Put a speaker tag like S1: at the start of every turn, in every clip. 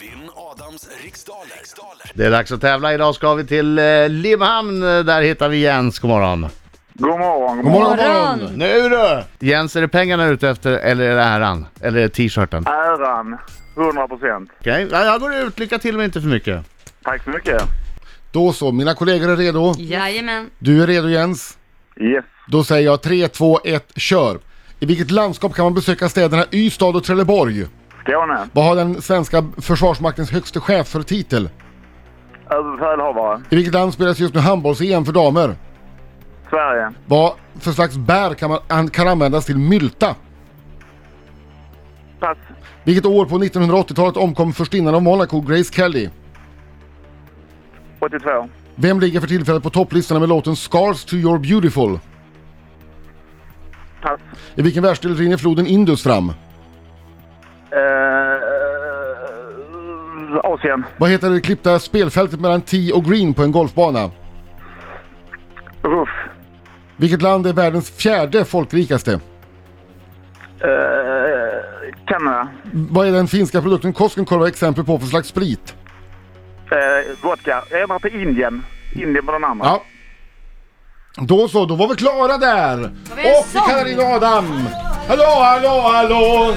S1: Vinn Adams riksdaler. riksdaler.
S2: Det är dags att tävla. Idag ska vi till eh, Limhamn. Där hittar vi Jens. God morgon.
S3: God morgon, god
S4: God
S3: morgon.
S4: morgon, god morgon.
S2: Nu du! Jens, är det pengarna ute efter eller är det äran? Eller är det t-shirten?
S3: Äran, 100 procent.
S2: Okej, ja, jag går ut. Lycka till men inte för mycket.
S3: Tack så mycket.
S4: Då så, mina kollegor är redo.
S5: Jajamän.
S4: Du är redo Jens.
S3: Yes.
S4: Då säger jag 3, 2, 1, kör! I vilket landskap kan man besöka städerna Ystad och Trelleborg?
S3: Skåne,
S4: Vad har den svenska försvarsmaktens högste chef för titel?
S3: överbefälhavare.
S4: I vilket land spelas just nu handbolls-EM för damer?
S3: Sverige,
S4: Vad för slags bär kan, man, an- kan användas till mylta?
S3: pass.
S4: Vilket år på 1980-talet omkom förstinnan av Monaco, Grace Kelly?
S3: 82,
S4: Vem ligger för tillfället på topplistorna med låten Scars to your beautiful?
S3: pass.
S4: I vilken världsdel rinner floden Indus fram?
S3: Eh, eh, Asien,
S4: Vad heter det klippta spelfältet mellan tee och green på en golfbana?
S3: Ruff,
S4: Vilket land är världens fjärde folkrikaste?
S3: eh, Kanada,
S4: Vad är den finska produkten Koskenkorva exempel på för slags sprit?
S3: eh, vodka. Jag var på Indien. Indien var den andra.
S4: Ja. Då så, då var vi klara där!
S5: vi en
S4: Och vi
S5: sång?
S4: kallar in Adam! Hallå, hallå, hallå!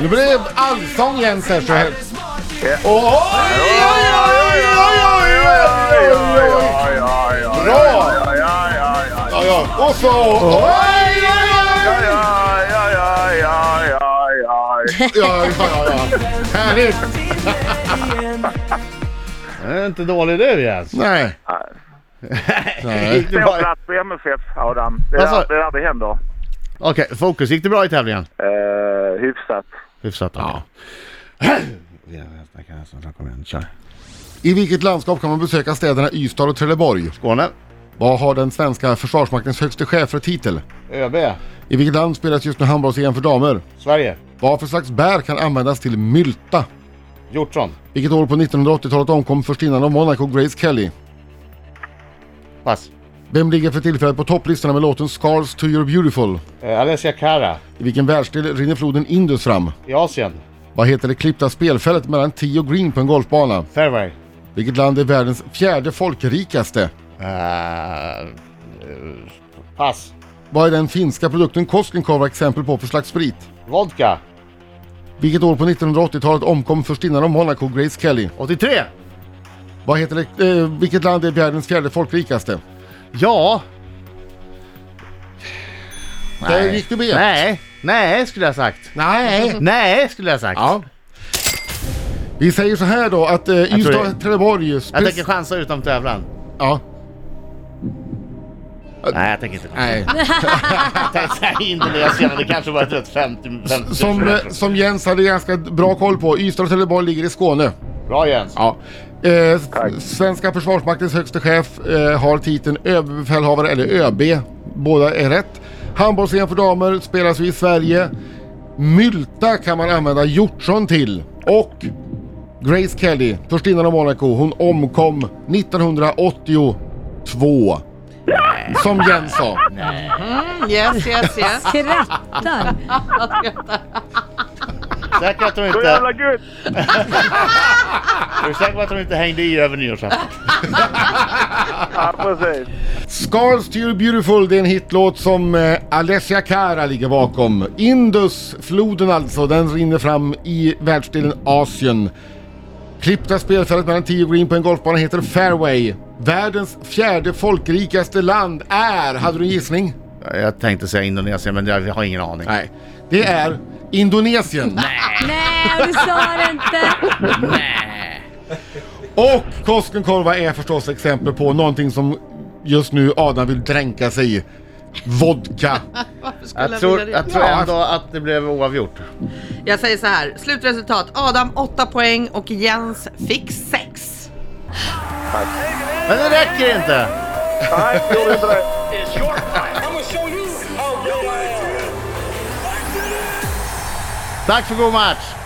S4: Nu blir det allsång Jens här så här. Oj, oj, oj, oj, oj, oj, oj, oj. Bra! Ja, ja. Och så... Oj, oj, oj! Ja, ja, ja, ja. Härligt!
S2: Det är inte dålig du Jens.
S4: Nej. Nej.
S2: Gick det
S3: Stor
S2: bra-
S3: plats på MFF, Adam. Det är,
S2: Vad sa-
S3: där, det är där det händer.
S2: Okej, fokus. Gick det bra i tävlingen?
S3: Eh, hyfsat.
S2: Hyfsat. Ja. Kom igen, kör.
S4: I vilket landskap kan man besöka städerna Ystad och Trelleborg?
S2: Skåne.
S4: Vad har den svenska försvarsmaktens högste chef för titel?
S2: ÖB.
S4: I vilket land spelas just nu handbolls-EM för damer?
S2: Sverige.
S4: Vad för slags bär kan användas till mylta?
S2: Hjortron.
S4: Vilket år på 1980-talet omkom förstinnan av Monaco Grace Kelly?
S2: Pass.
S4: Vem ligger för tillfället på topplistorna med låten Scars to your beautiful?
S2: Eh, Alessia Cara.
S4: I vilken världsdel rinner floden Indus fram?
S2: I Asien.
S4: Vad heter det klippta spelfältet mellan tee och green på en golfbana?
S2: Fairway.
S4: Vilket land är världens fjärde folkrikaste?
S2: Eh, eh, pass.
S4: Vad är den finska produkten Koskenkorva exempel på för slags sprit?
S2: Vodka.
S4: Vilket år på 1980-talet omkom förstinnan av Monaco Grace Kelly?
S2: 83.
S4: Vad heter det, eh, vilket land är världens fjärde folkrikaste?
S2: Ja.
S4: Där gick du med.
S2: Nej. Nej, skulle jag sagt.
S4: Nej.
S2: Nej, skulle jag sagt.
S4: Ja. Vi säger så här då att eh,
S2: tror
S4: Ystad,
S2: det-
S4: Trelleborg...
S2: Jag
S4: spec-
S2: tänker chansa utom tävlan.
S4: Ja.
S2: Nej, jag tänker inte.
S4: Nej.
S2: Tänk- Säg inte det jag senare. Det kanske var ett 50... 50
S4: Som, eh, som Jens hade ganska bra koll på, Ystad och Trelleborg ligger i Skåne.
S2: Bra Jens.
S4: Ja. Eh, s- svenska försvarsmaktens högste chef eh, har titeln överbefälhavare, eller ÖB. Båda är rätt. handbolls för damer spelas ju i Sverige. Mylta kan man använda hjortron till. Och Grace Kelly, förstinnan av Monaco, hon omkom 1982. Som Jens sa.
S5: Yes, yes, yes.
S6: Skrattar.
S2: Säker att de
S3: Så
S2: inte...
S3: jävla gött!
S2: Är du säker på att de inte hängde i över nyårsafton?
S3: Ja, precis.
S4: Scars to your beautiful, det är en hitlåt som eh, Alessia Cara ligger bakom. Indus, floden alltså, den rinner fram i världsdelen Asien. Klippta spelfältet mellan tee och green på en golfbana heter Fairway. Världens fjärde folkrikaste land är, hade du en gissning?
S2: Jag tänkte säga Indonesien, men jag har ingen aning.
S4: Nej. Det är Indonesien.
S6: Nej, du sa det inte.
S4: Och Koskenkorva är förstås exempel på någonting som just nu Adam vill dränka sig i. Vodka.
S2: Jag tror, jag tror ändå att det blev oavgjort.
S5: Jag säger så här, slutresultat Adam 8 poäng och Jens fick 6.
S2: Men det räcker inte!
S3: Nej, jag gjorde inte det.
S2: Tack för god match!